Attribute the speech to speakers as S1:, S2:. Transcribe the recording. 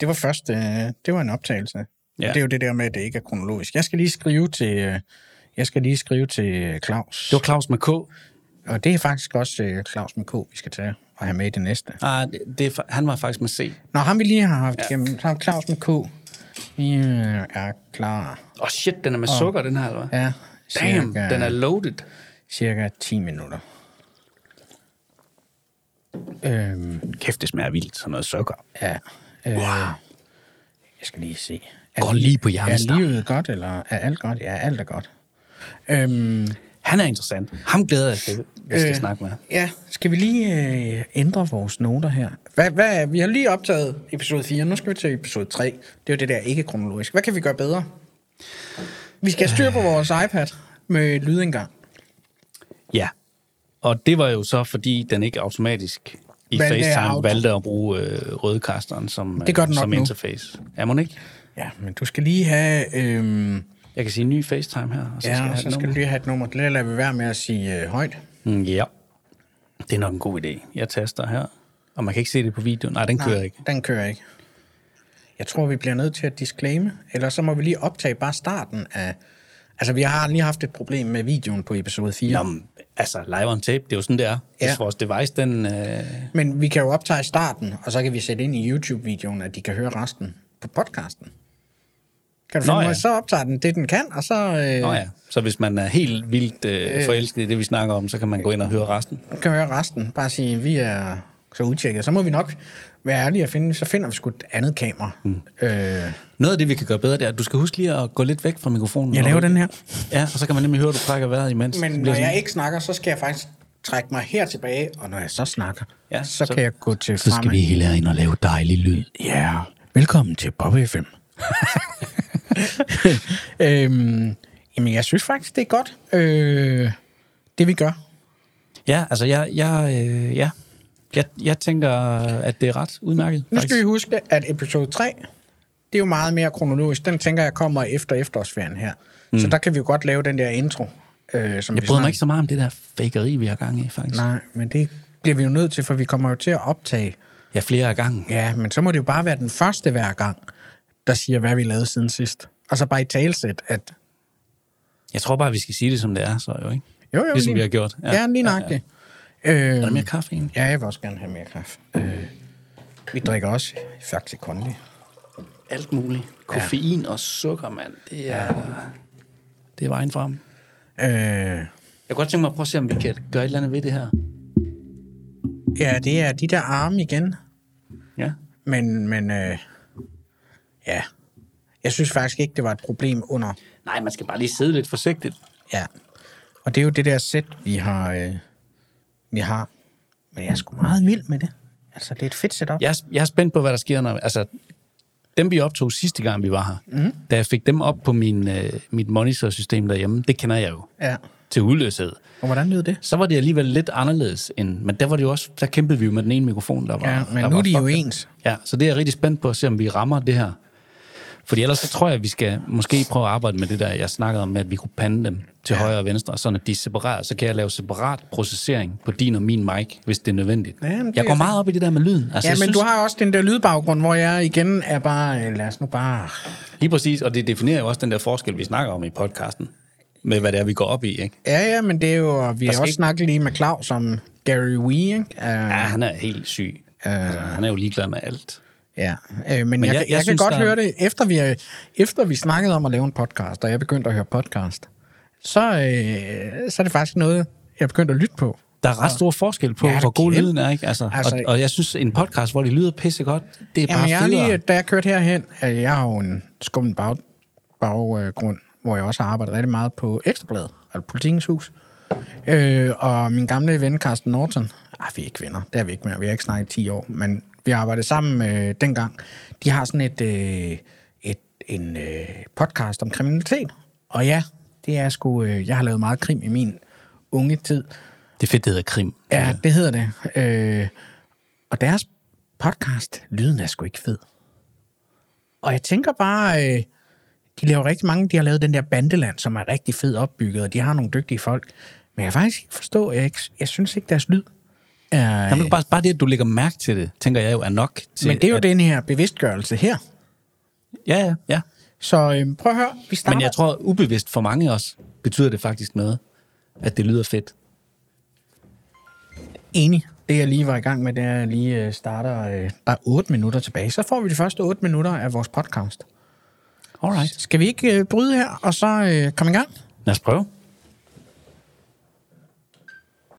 S1: det var først, øh, det var en optagelse. Ja.
S2: Ja.
S1: Det er jo det der med, at det ikke er kronologisk. Jeg skal lige skrive til, øh, jeg skal lige skrive til øh, Claus.
S2: Det var Claus med K.
S1: Og det er faktisk også øh, Claus med K, vi skal tage og have med i det næste.
S2: Ah, det, det, er fa- han var faktisk med C.
S1: Nå, ham vi lige har haft ja. igennem, så er Claus med K. Vi øh, er klar.
S2: Åh oh, shit, den er med sukker, den her, eller hvad?
S1: Ja,
S2: Damn,
S1: cirka,
S2: den er loaded.
S1: cirka 10 minutter. Øhm,
S2: Kæft, det smager vildt, sådan noget sukker.
S1: ja. Øh, wow. Jeg skal lige se. Er
S2: Går lige på
S1: Er
S2: hjernestarten.
S1: livet godt, eller er alt godt? Ja, alt er godt. Øhm,
S2: Han er interessant. Ham glæder jeg til, jeg skal øh. snakke med.
S1: Ja, skal vi lige øh, ændre vores noter her? Hvad, hvad, vi har lige optaget episode 4, nu skal vi til episode 3. Det er jo det der ikke kronologisk. Hvad kan vi gøre bedre? Vi skal have styr
S2: Øh.
S1: på vores iPad med lydindgang.
S2: Ja. Og det var jo så, fordi den ikke automatisk i
S1: Valgte
S2: valgte
S1: out.
S2: FaceTime valgte at bruge øh, rødkasteren som, øh,
S1: Det gør den nok
S2: som
S1: nu.
S2: interface. Er man ikke?
S1: Ja, men du skal lige have... Øh,
S2: Jeg kan sige ny FaceTime her, og så skal
S1: ja,
S2: jeg
S1: og så
S2: have
S1: skal
S2: den
S1: du lige have et nummer. Det lader vi være med at sige øh, højt.
S2: Mm, Ja. Det er nok en god idé. Jeg taster her. Og man kan ikke se det på videoen. Nej, den Nej. kører ikke.
S1: Den kører ikke. Jeg tror, vi bliver nødt til at disclaime, eller så må vi lige optage bare starten af... Altså, vi har lige haft et problem med videoen på episode 4.
S2: Nå, men, altså, live on tape, det er jo sådan, det er.
S1: Ja.
S2: Ja. Hvis vores device, den... Øh,
S1: Men vi kan jo optage starten, og så kan vi sætte ind i YouTube-videoen, at de kan høre resten på podcasten. Kan du
S2: Nå
S1: finde ja.
S2: ja.
S1: mig, så optager den det, den kan, og så øh,
S2: Nå ja, så hvis man er helt vildt øh, forelsket i det, vi snakker om, så kan man gå ind og høre resten.
S1: kan høre resten. Bare sige, vi er så udtjekket. Så må vi nok være ærlige og finde, så finder vi sgu et andet kamera. Mm. Øh,
S2: Noget af det, vi kan gøre bedre, det er, at du skal huske lige at gå lidt væk fra mikrofonen.
S1: jeg
S2: når
S1: laver
S2: du-
S1: den her.
S2: Ja, og så kan man nemlig høre, at du trækker vejret imens.
S1: Men
S2: Det
S1: når
S2: bliver
S1: jeg ikke snakker, så skal jeg faktisk trække mig her tilbage, og når jeg så snakker, ja,
S2: Ja,
S1: så, så
S2: så-
S1: kan jeg gå til
S2: så skal vi hele herind og lave dejlig lyd.
S1: Ja, velkommen til Bob FM. øhm, jamen, jeg synes faktisk, det er godt, øh, det vi gør.
S2: Ja, altså jeg, jeg, øh, ja. jeg, jeg tænker, at det er ret udmærket.
S1: Nu
S2: faktisk.
S1: skal vi huske, at episode 3, det er jo meget mere kronologisk. Den tænker jeg kommer efter efterårsferien her. Mm. Så der kan vi jo godt lave den der intro. Øh, som
S2: Jeg
S1: vi
S2: bryder
S1: snakker-
S2: mig ikke så meget om det der fakeri, vi har gang i, faktisk. Nej.
S1: Nej, men det bliver vi jo nødt til, for vi kommer jo til at optage.
S2: Ja, flere af gangen.
S1: Ja, men så må det jo bare være den første hver gang, der siger, hvad vi lavede siden sidst. Og så bare i talsæt, at
S2: Jeg tror bare, vi skal sige det, som det er, så jo, ikke?
S1: jo, jo,
S2: Ligesom
S1: lige-
S2: vi har gjort.
S1: Ja, ja lige nøjagtigt. Ja, ja.
S2: Er der mere kaffe egentlig?
S1: Ja, jeg vil også gerne have mere kaffe. Øh, vi drikker også faktisk Kondi.
S2: Alt muligt. Koffein ja. og sukker, mand. Det er, det er vejen frem.
S1: Øh,
S2: Jeg kunne godt tænke mig at prøve at se, om vi kan gøre et eller andet ved det her.
S1: ja, det er de der arme igen.
S2: Ja.
S1: Men, men øh, ja, jeg synes faktisk ikke, det var et problem under.
S2: Nej, man skal bare lige sidde lidt forsigtigt.
S1: Ja. Og det er jo det der sæt, vi har. Øh, vi har. Men jeg er sgu meget vild med det. Altså, det er et fedt setup.
S2: Jeg er, jeg er spændt på, hvad der sker, når... Altså, dem vi optog sidste gang, vi var her,
S1: Mhm.
S2: mm. da jeg fik dem op på min, øh, mit monitorsystem derhjemme, det kender jeg jo
S1: ja.
S2: til udløshed.
S1: Og hvordan lød det?
S2: Så var det alligevel lidt anderledes end... Men der var det jo også... Der kæmpede vi jo med den ene mikrofon, der var...
S1: Ja, men
S2: der
S1: nu er
S2: var
S1: de jo
S2: fucked.
S1: ens.
S2: Ja, så det er jeg rigtig spændt på at se, om vi rammer det her. Fordi ellers så tror jeg, at vi skal måske prøve at arbejde med det der, jeg snakkede om, med, at vi kunne pande dem til ja. højre og venstre, sådan at de er separeret. Så kan jeg lave separat processering på din og min mic, hvis det er nødvendigt.
S1: Jamen, det
S2: jeg
S1: er-
S2: går meget op i det der med lyden. Altså,
S1: Ja, men
S2: jeg synes,
S1: du har også den der lydbaggrund, hvor jeg igen er bare, øh, lad os nu bare...
S2: Lige præcis, og det definerer jo også den der forskel, vi snakker om i podcasten, med hvad det er, vi går op i, ikke?
S1: Ja, ja, men det er jo, og vi har
S2: skal
S1: også
S2: ikke-
S1: snakket lige med Claus om Gary Wee, ikke? Uh,
S2: Ja, han er helt syg.
S1: Øh.
S2: Altså, han er jo ligeglad med alt.
S1: Ja, øh, men, men jeg, jeg,
S2: jeg
S1: jeg, jeg kan
S2: synes,
S1: godt
S2: der-
S1: høre det, efter vi, øh, efter vi snakkede om at lave en podcast, og jeg begyndte at høre podcast, så, øh, så er det faktisk noget, jeg begyndte at lytte på.
S2: Der er ret stor forskel på,
S1: Ja,
S2: ja,
S1: det
S2: hvor god
S1: kæmpe.
S2: lyden er, ikke? Altså,
S1: Altså-
S2: altså, og, og jeg synes, en podcast, hvor det lyder pisse godt, det er
S1: Jamen,
S2: bare
S1: jeg er
S2: federe.
S1: lige, da jeg kørte herhen, øh, jeg har jo en skummel bag, baggrund, hvor jeg også har arbejdet rigtig meget på Ekstrabladet, eller Politikens Hus. Øh, og min gamle ven, Carsten Norton, ah, vi er ikke venner, det er vi ikke mere, vi har ikke snakket i 10 år, men vi har arbejdet sammen øh, dengang. De har sådan et, øh, et en øh, podcast om kriminalitet. Og ja, det er sgu, øh, jeg har lavet meget krim i min unge tid.
S2: Det er fedt, det hedder krim.
S1: Ja, det hedder det. Øh, og deres podcast, lyden er sgu ikke fed. Og jeg tænker bare, øh, de laver rigtig mange, de har lavet den der bandeland, som er rigtig fed opbygget, og de har nogle dygtige folk. Men jeg kan faktisk ikke forstå, jeg, ikke, jeg synes ikke, deres lyd er,
S2: Jamen, bare, bare det, at du lægger mærke til det, tænker jeg jo er nok. Til,
S1: men det er jo
S2: at,
S1: den her bevidstgørelse her.
S2: Ja, ja, ja.
S1: Så øhm, prøv at høre, vi starter.
S2: Men jeg tror, ubevidst for mange også betyder det faktisk noget, at det lyder fedt.
S1: Enig. Det jeg lige var i gang med, det er, at jeg lige øh, starter. Øh, der er 8 minutter tilbage. Så får vi de første 8 minutter af vores podcast.
S2: Alright.
S1: Skal vi ikke øh, bryde her, og så øh, komme i gang?
S2: Lad os prøve.